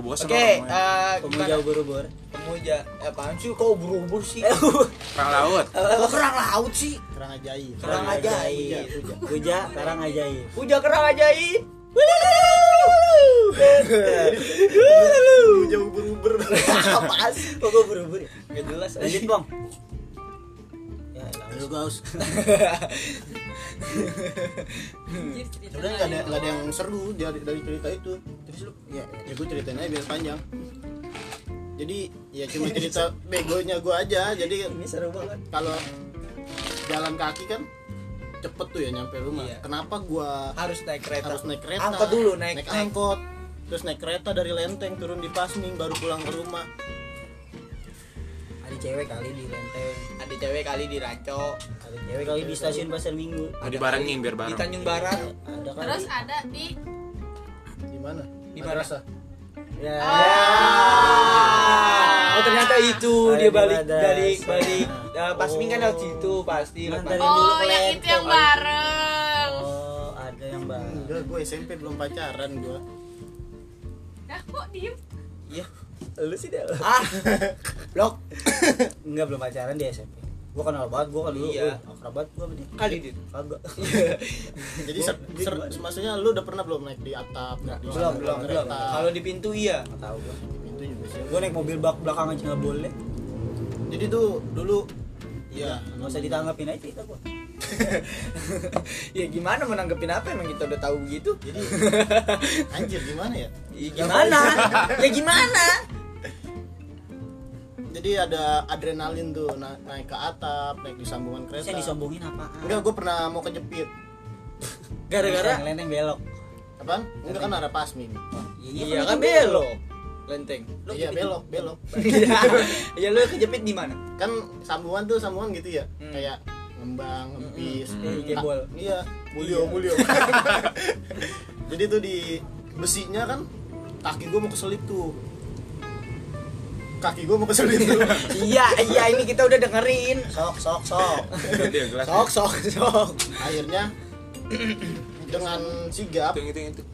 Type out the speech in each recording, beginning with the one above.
bosan Oke, orang main. eh, Pemuja gimana? ubur-ubur Pemuja. Eh, Apaan sih kok ubur-ubur sih? perang laut Kok kerang laut sih? Kerang ajaib Kerang ajaib. Puja, puja kerang ajaib Puja kerang ajaib. Puja ubur-ubur Apaan sih? Kok gue ubur-ubur ya? Gak jelas aja. Lanjut bang Ya, elah. Lu gaus Anjir, cerita Sebenernya gak ada, nggak ada yang seru dari, dari cerita itu Terus lu Ya, ya gue ceritain aja biar panjang Jadi ya cuma cerita begonya gue aja Jadi Ini seru banget. kalau jalan kaki kan cepet tuh ya nyampe rumah. Iya. Kenapa gua Harus naik kereta. harus naik kereta? Angkot dulu naik. naik angkot. Terus naik kereta dari Lenteng turun di Pasming baru pulang ke rumah. Ada cewek kali di Lenteng, Ada cewek kali di Ranco. ada cewek kali di stasiun Pasar Minggu. Mau dibarengin biar bareng Di Tanjung Barat. Ada kali. Terus ada di Di mana? Di Madrasah. Ya. Oh ternyata itu Ada dia di balik Madrasah. dari balik eh, Pasming kan lewat situ pasti lewat Nganterin Pasming. dulu Oh, ke yang Lenteng. itu yang bareng. Oh, ada yang bareng. Enggak, gue SMP belum pacaran gua. Dah kok diem? Iya. Lu sih dah. Ah, blok Enggak belum pacaran di SMP. Gua kenal banget, gua kan dulu Iya. gua akrab banget gua sama dia. kali dit. Kagak. Jadi ser- ser- maksudnya lu udah pernah belum naik di atap? naik di belum, sana, belum, kereta? belum. Kalau di pintu iya. Enggak tahu gua. Itu juga sih. Gua naik mobil bak belakang aja enggak boleh. Jadi tuh dulu ya Enggak usah ditanggapin aja cerita gua. ya gimana menanggepin apa emang kita udah tahu gitu? jadi anjir gimana ya? Ya, gimana? ya gimana? Jadi ada adrenalin tuh na- naik ke atap, naik di sambungan kereta. Saya disombongin apaan? Enggak, gue pernah mau kejepit. Gara-gara lenteng belok. Apaan? Enggak kan arah pasmin. iya kan belok. Lenteng. Iya belok, belok. ya lu kejepit di mana? Kan sambungan tuh sambungan gitu ya. Hmm. Kayak ngembang, ngempis, Hmm. Nah, Jebol. Iya, mulio, mulio. Jadi tuh di besinya kan kaki gue mau keselip tuh. Kaki gue mau keselip tuh. iya, iya ini kita udah dengerin. Sok sok sok. Ganti yang gelas Sok sok sok. Akhirnya dengan sigap itu yang itu yang itu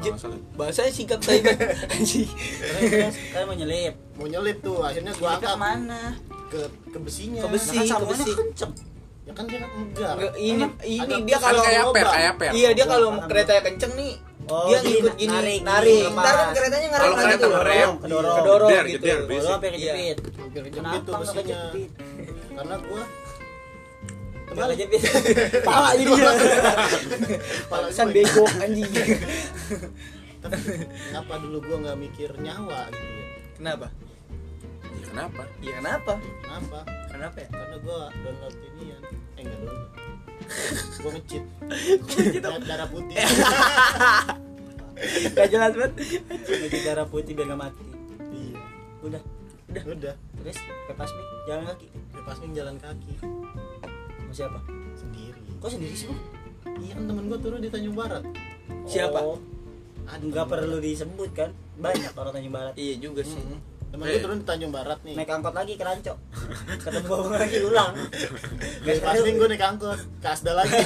Jep. Oh, salah. Bahasanya sikap tadi anjing. Terus kalian mau nyelip. mau nyelip tuh. Akhirnya gue Nyelipnya angkat kemana? ke ke besinya. Ke Nah, besi. Lah kan sambungannya besi. kenceng. Ya kan dia kan enggak. Nggak, ini Emang ini ada dia pesan kalau kayak per lubang. kayak per Iya, dia kalau Paham. kereta kenceng nih Oh, dia jadi ngikut gini, narik, narik. lepas. Ntar kan keretanya ngerem Kalau kereta gitu. ngerem, kedorong. Kedorong Jeder, gitu. jeder, Kalau Basic. sampai Iya. kejepit. hampir kejepit Kenapa tuh nggak besinya. kejepit? Karena gue Nggak kejepit. Pala Ah, jadi dia. Pala Pantesan Kan gua- bego anjing. kenapa dulu gue nggak mikir nyawa gitu ya Kenapa? Ya, kenapa Iya, kenapa? kenapa Kenapa ya? karena gue download ini ya eh enggak download gue ngecit Eh. darah, darah putih Gak jelas banget. Baju darah putih biar nggak mati. iya Udah. udah udah Terus bebas nih jalan kaki. lepas nih jalan kaki Sama siapa? sendiri Kok sendiri sih, Bang? iya kan temen gue turun di Tanjung Barat Siapa? Oh, Aduh, nggak Tanjung perlu disebut kan? Banyak orang Tanjung Barat. Iya juga Barat. sih. Mm-mm. temen gue Eh. turun di Tanjung Barat nih Naik angkot lagi ke Ranco. Ketemu abang lagi ulang. lepas nih gue naik angkot kasda lagi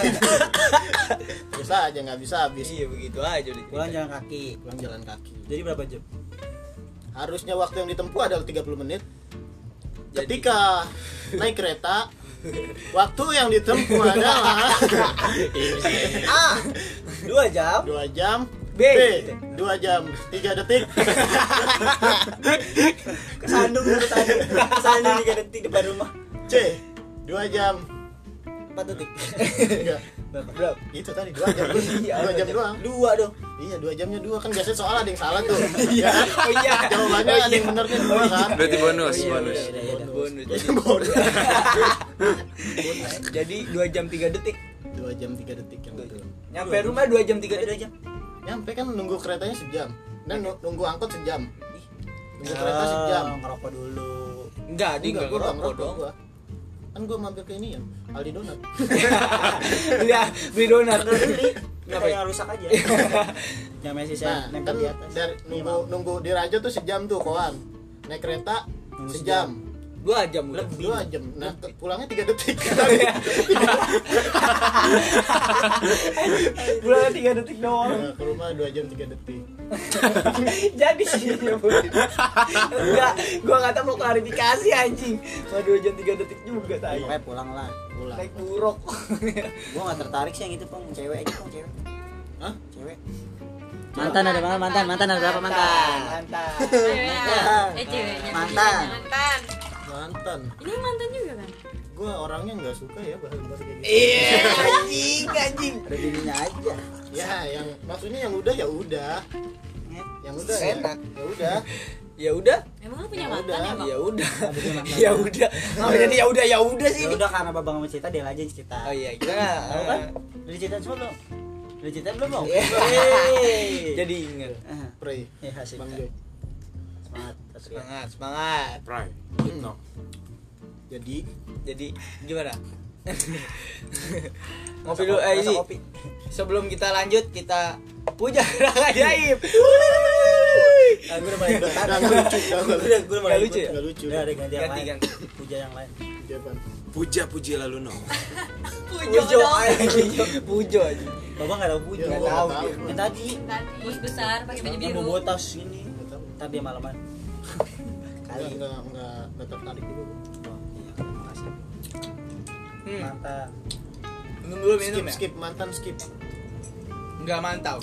bisa aja nggak bisa habis Iya begitu aja udah. Pulang jalan kaki. pulang jalan kaki Jadi berapa jam? harusnya waktu yang ditempuh adalah 30 menit Jadi- ketika naik kereta waktu yang ditempuh adalah Ah, Dua jam. 2 jam B. B, 2 jam 3 detik Kesandung, kesandung, kesandung tiga detik depan rumah. C 2 jam Empat detik. Enggak, Berapa? itu tadi 2 jam Iya, 2 jam doang Dua dong. iya 2 jamnya 2 kan biasanya soal ada yang salah tuh iya oh iya. jawabannya Oh ada yang benernya 2 kan berarti bonus iya, bonus iya, iya, iya, bonus. Jadi bonus. Jadi 2 jam 3 detik. 2 jam 3 detik yang betul Nyampe rumah 2 jam 3 Dua detik. jam. nyampe kan nunggu keretanya sejam dan nu- nunggu angkot sejam Ih. nunggu kereta sejam Ah, Ngerokok dulu. Enggak, dia enggak gua nggak ngerokok dong. gua. kan gue mampir ke ini ya Aldi Donat Iya, beli donat. Nggak beli. Kenapa Kita ya? yang rusak aja. Yang masih saya nah kan nempel di atas. Iya, dari nunggu nunggu di Raja tuh sejam tuh kawan naik kereta Nunggu sejam dua jam udah Lebih. dua jam nah ke- pulangnya tiga detik Nah, Bulan tiga detik doang. Iya. Nah, ke rumah dua jam tiga detik Jadi sih. enggak gua kata mau klarifikasi anjing mau dua jam tiga detik juga tadi Pokoknya pulang lah. pulang naik buruk Gua nggak tertarik sih yang itu pong cewek aja pong cewek. Hah? Cewek. Mantan ada berapa mantan? Mantan ada berapa mantan? mantan Cewek. Eh ceweknya. Mantan. Mantan. mantan Ini mantan juga kan? gue orangnya nggak suka ya bahasa bahasa kayak gitu iya anjing anjing Ada bininya aja. ya yang maksudnya yang udah ya udah yang udah ya, Enak. ya udah ya udah Emang lu punya Ya mantan udah, ya bang? ya udah Ada mantan. ya udah Kenapa jadi ya udah ya udah sih Ya ini? udah karena babang sama cerita dia aja yang cerita. oh iya kita nggak Tahu kan? Udah cerita semua belum? Udah cerita belum bang? Iya. Yeay. jadi inget Ah, pray ya hasil. bang Jo Semangat. Satria. semangat semangat Pray. No. Hmm. jadi jadi gimana ngopi dulu eh, Masa ini. kopi. sebelum kita lanjut kita puja gerak ajaib Ah, gua udah mulai ikutan. Nggak lucu, nggak Gua lucu. udah gua udah mulai Nggak lucu ikut. ya? nggak lucu Udah ada ganti yang Ganti, lain. ganti. Puja yang lain. jawaban Puja puji lalu no. pujo anjing pujo anjing Babang nggak tahu puja. Ya, Nggak gua tahu nggak dia. tahu. Yang tadi. Bus besar pakai baju Yang biru. bawa tas ini. Nggak tahu. Ntar dia malaman. Nggak, nggak nggak nggak tertarik dulu Oh, iya, terima kasih. hmm. Mantap. minum dulu minum skip ya skip mantan skip nggak mantau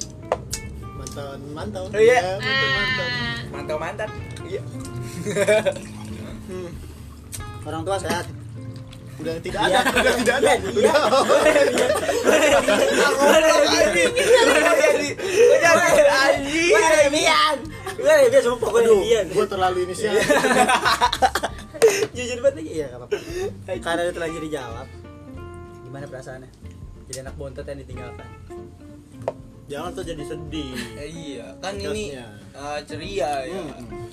mantan mantan Oh, iya. Ya, mantan mantan Ah. mantau mantan iya Orang tua sehat. Hmm. udah tidak Iya. ada udah tidak ada udah Gue ada Iya. Bian. Gue ada Bian sumpah gue ada aduh Bian. gue terlalu inisial Iya. Jujur banget lagi ya enggak apa-apa. Karena itu lagi dijawab. Gimana perasaannya? Jadi anak bontot yang ditinggalkan. jangan tuh jadi sedih iya kan ini Podcastnya. eh, ceria ya Hmm.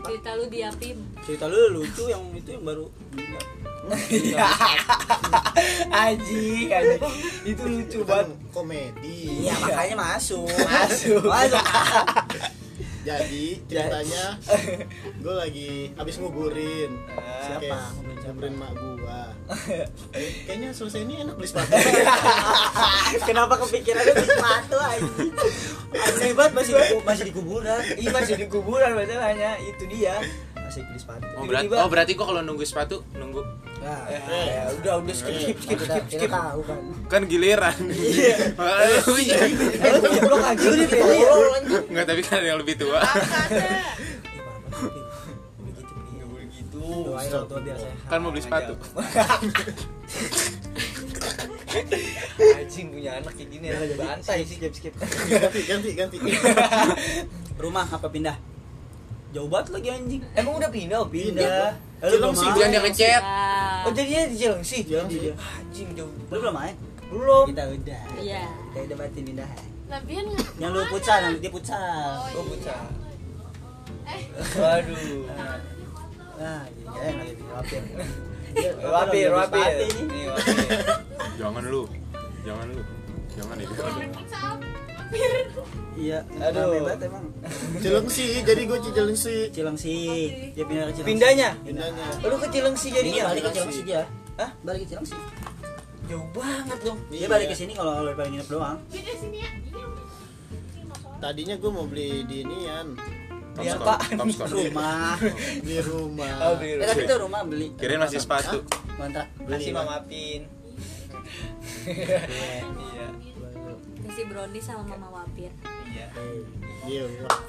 Cerita lu di Apim. Cerita lu lucu yang itu yang baru meninggal. Iya. Aji, aji. Itu lucu Kan banget. komedi Iya, makanya masuk. Masuk. Masuk. jadi ceritanya gue lagi abis nguburin Eh, Siapa? Kayak Nguburin siapa? nguburin mak gua kayaknya selesai ini enak beli sepatu Kenapa kepikiran lu sepatu anjing? Aneh banget masih di, masih di kuburan. Ih masih di kuburan masalahnya itu dia. Masih beli sepatu. Oh berarti, Tiba-tiba. oh berarti gua kalau nunggu sepatu nunggu Nah, Eh, ya udah udah skip skip skip skip skip. tahu kan. kan giliran. Iya. Oh, Makanya lu puja. Eh, lu goblok aja lu Iya. tolol, anjing. Enggak tapi kan ada yang lebih tua. Ih, apa-apa, Pin. Begitu, Pin. Nggak boleh gitu. Doain orang tua dia sehat. Kan mau beli sepatu. Iya. Anjing punya anak kayak gini Udah, harus Iya, jadi. bantai sih. skip skip. skip. ganti ganti ganti Rumah apa pindah? Jauh banget lagi anjing. Emang udah pindah oh, Pindah. pindah. Eh, Lu belum Cilengsi, Jangan main. dia ngechat. Ah. Oh jadinya di Cilengsi. Cilengsi. Iya. Anjing jauh. Lu belum main? Belum. Kita udah. Iya. Kita udah batin pindahan. Labian Yang lu pucal, yang dia pucal. Oh, Oh bocah. Eh. Waduh. Nah, jadi kalian lagi di wapir. Iya, Wapir, wapir. Ini Nih, wapir. Jangan lu. Jangan lu. Jangan itu. Kecap. Hampir. Iya, Aduh. aduh. banget emang. Cilengsi jadi gue Cilengsi Cilengsi, dia pindah ke Cilengsi. Pindahnya? pindahnya Lu ke Cilengsi Jadi jadinya. Iya, balik ke Cilengsi dia. Hah? Iya. Balik ke Cilengsi. Jauh banget dong. Dia balik ke sini kalau kalau pengen nginep doang. Beda sini ya. Iya. tadinya gue mau beli di inian Tom Iya, Scott. Pak. Tom Scott. Rumah. di rumah Oh, di Eh, tapi itu rumah beli. Kirain masih sepatu. Kontrak. Kasih Beli, Mama Pin. Iya. Kasih brownies sama Mama Wapir. Iya. di Biar rumah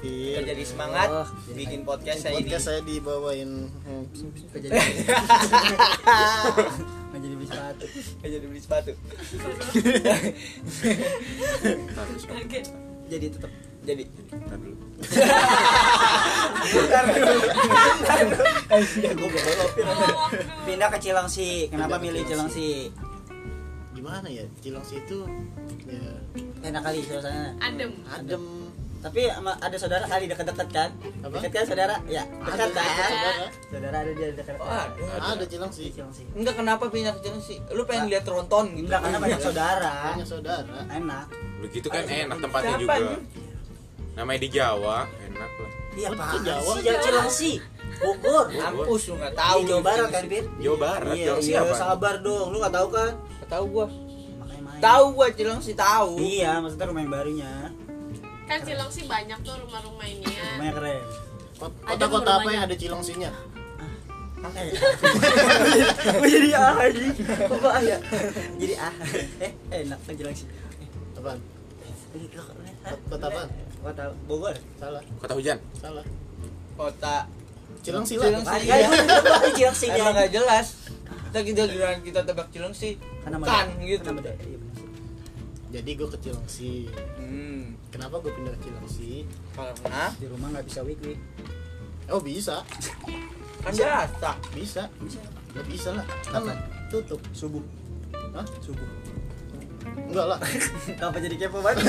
jadi semangat Oh, bikin podcast saya ini. podcast saya dibawain hmm, Gak jadi. Gak jadi beli sepatu. Kayak jadi beli sepatu. Ntar dulu, Scott. Kaget. Jadi tetap Jadi Ntar dulu. gue bawa Pindah ke Cilengsi. Kenapa Pindah ke milih Cilengsi? gimana ya Cilengsi itu ya Enak kali suasana. Adem. adem Tapi ama- ada saudara kali deket-deket kan? Apa? Deket kan saudara? Ya, deket kan? Saudara. Saudara ada dia deket. Oh, aduh. ada Di Cilengsi Cilengsi. Enggak kenapa pindah ke Cilengsi? Lu pengen lihat Tronton gitu. Enggak, karena banyak saudara. punya saudara Enak. Begitu kan enak tempatnya Siapa, juga. anjing? Namanya di Jawa, enak lah. Iya, Kok Pak. Jawa? Jawa Cilengsi. Bogor. Kampus lu nggak tahu. Tahu Jawa Barat kan, Pin? Jawa Barat, Iya, Jawa iya, siapa? sabar dong. Lu gak tahu kan? Nggak Tahu gua. Makanya main. Tahu gua Cilong sih tahu. Iya, maksudnya rumah yang barunya. Kan Cilong sih banyak tuh rumah-rumah inian. Rumahnya keren. Kot- Ada Kota-kota apa rumahnya. yang ada cilongsinya? Gue jadi ah anjing. Kok gua ah ya? Jadi ah. Eh, enak kan jelang sih. Eh, Apaan? Kota apa? Gua tahu Bogor. Salah, Kota hujan. salah. Kota Cilongsi Cilong lah. Kan sih. ya, gua jelang sih. Emang nggak jelas. Kita kita giliran kita tebak Cilong sih. Kan gitu. Kan ada. Iya benar. Jadi gue ke Cilongsi. Hmm. Kenapa gue pindah ke Cilongsi? Karena Di rumah nggak bisa weekly. Oh bisa, kan biasa. bisa, bisa, nggak bisa lah. Kan Kapan? tutup. Subuh. Hah? Subuh. Enggak lah. Kenapa jadi kepo banget?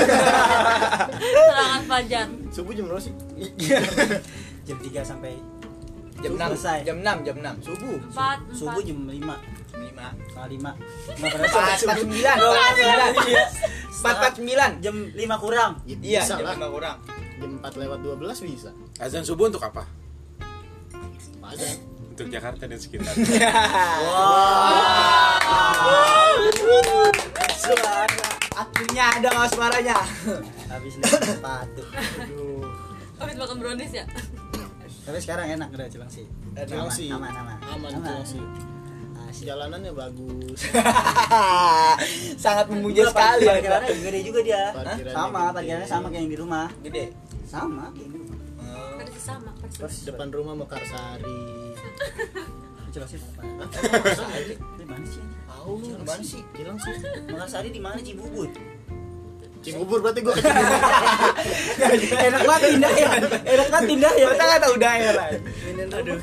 Serangan fajar. Subuh jam berapa sih? jam 3 sampai Jam 6 Subuh selesai. Jam 6, jam 6. Subuh. Empat. subuh empat. jam 5 5. setengah 5 Nggak Empat pernah sholat subuh. empat sembilan. Nggak pernah sholat. Iya. Empat empat sembilan. jam 5 kurang Ya, Iya, bisa jam lah. lima kurang. Jam 4 lewat 12 bisa. Azan subuh untuk apa? Ada. Untuk Jakarta dan sekitar. suara Akhirnya ada mas suaranya. habis lihat sepatu Aduh. Habis makan brownies ya? tapi sekarang enak udah cilang sih Enak. Cilongsi. aman aman Ah, Aman Cilongsi. Asik. Jalanannya bagus. Sangat memuja Gua sekali ya. Kita. parkirannya gede juga dia Parkirannya sama gede. parkirannya sama kayak yang di rumah Gede. sama kayak yang di rumah Persis sama, persis. terus Depan rumah Mekarsari. cilang sih apa Mekarsari. di mana sih Tahu lu gimana sih? Cilongsi. Makassari di mana Cibubur Cibubur berarti gue ke Cibubur. enak banget pindah ya enak banget pindah ya Kita kan Iya, nggak tahu daerah. Aduh.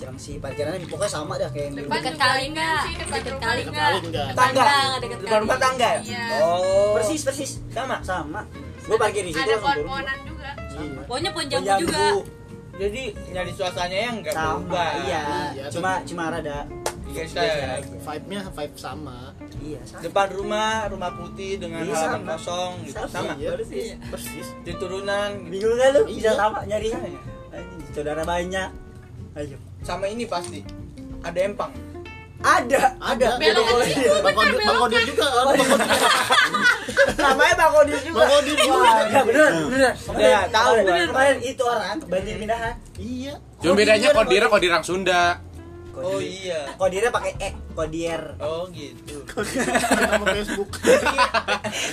Jarang sih parkirannya pokoknya sama dah kayak yang di Depan rumah. Deket juga kali ini nggak? sih, depan Deket rumah. kali Depan kali nggak? nggak. Tangga. nggak deket Depan rumah kali. tangga ya. Iya. Oh. Persis persis sama. sama. Gue parkir di situ Ada langsung turun. pohon-pohonan juga. Iya. Pokoknya pohon Pohon jambu juga. Jadi nyari suasananya yang nggak Sama. berubah. Iya. Iya, Cuma cuma rada. Iya, biasa saya. aja. Vibe-nya vibe sama. Iya. sama. Depan rumah, rumah putih dengan Iya, halaman sama. kosong gitu. Sama. Iya. Persis. Persis. Di turunan gitu. Bingung gak lu? Bisa Iya. sama nyari. Anjing, Saudara banyak. Ayo. sama ini pasti. Ada empang. Ada. Ada. Belok Bang aja, Odir. Bang Odir- Bang Odir juga. Bang Odir juga. Namanya Bang Odin Bang Odir juga. Wah, ya bener, Hmm. bener. Udah, Iya, tahu Kemarin- gua. Iya, Kemarin itu orang banjir pindahan. Iya. Oh, Cuma bedanya kodira iya. kodirang Sunda. Oh iya. Kodirnya pakai E, Kodier. Oh gitu. Nama Facebook.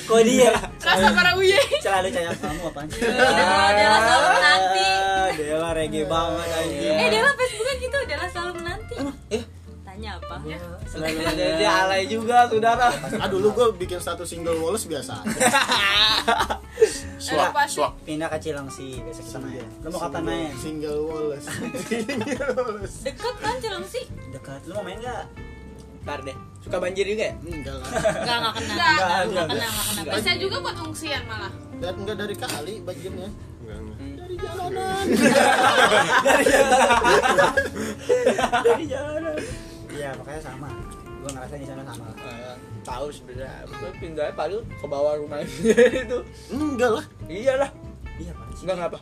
Kodier. Rasa para uye. Selalu caya kamu apaan sih? Dewa- Dewa selalu menanti. Ah, Dewa reggae banget anjing. Eh, Dewa Facebooknya gitu, Dewa selalu menanti. Eh. Tanya apa? Selalu Jadi dia alay juga, saudara. Ah dulu gue bikin status single Wallace biasa. Suak, Apa sih? suak. pindah ke Cilengsi besok kita main lu mau kapan Single- main Single Wallace. Single Wallace. Deket kan Cilengsi? dekat lu mau main nggak Ntar deh. Suka banjir juga ya? Enggak lah. Enggak, enggak kena. Enggak, Nggak, nggak, enggak kena, enggak kena. Bisa juga buat ungsian malah. Dan enggak dari kali bagiannya. Enggak, enggak. Dari jalanan. dari jalan iya pokoknya sama gua ngerasa di sana sama lah Eh, tahu sebenarnya Gua pindahnya paling ke bawah rumah itu Enggak lah. iyalah iya pak enggak enggak apa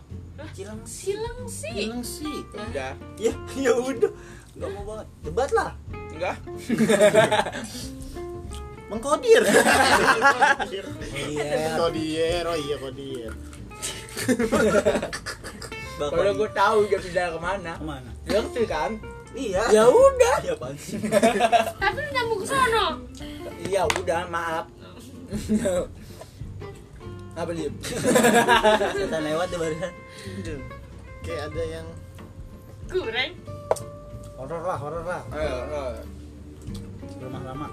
Cilengsi Cilengsi. Bilang sih. enggak ya ya udah nggak mau banget debat lah enggak Mengkodir. iya Kodir. Oh iya kodir. kalau gitu. gue tahu dia pindah kemana kemana dia kecil kan iya ya udah iya apaan sih Tapi lu nyambung ke sono. iya udah maaf apa dia kita lewat tuh barusan Kayak ada yang Goreng. horor lah horor lah Ayo, ayo. rumah lama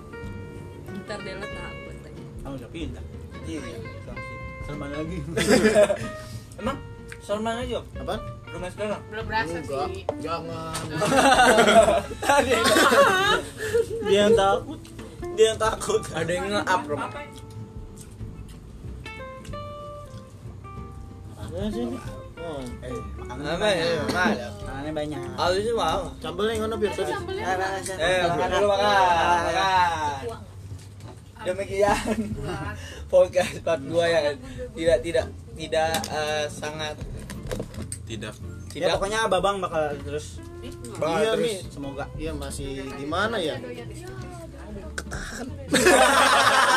Ntar Dewa takut. kamu udah pindah Iya, Cilengsi. sama lagi emang Salman aja apa? rumah sekarang Belum berasa Enggak. sih. Jangan. dia yang takut dia yang takut ada yang nge-up rumah Iya Apa sih? Oh. eh makanan apa ya banyak rumah ada makanannya banyak Aku sih mau Sambelnya yang mana biar Itu tadi? sambelnya Eh, mana? eh makan dulu makan makan demikian Buat. podcast ya, kan? part 2 yang tidak tidak tidak eh, sangat Tidak Ya pokoknya Babang bakal terus Bakal Iya, terus. Mi. semoga. Iya masih gimana ya? Ya, Ketahan.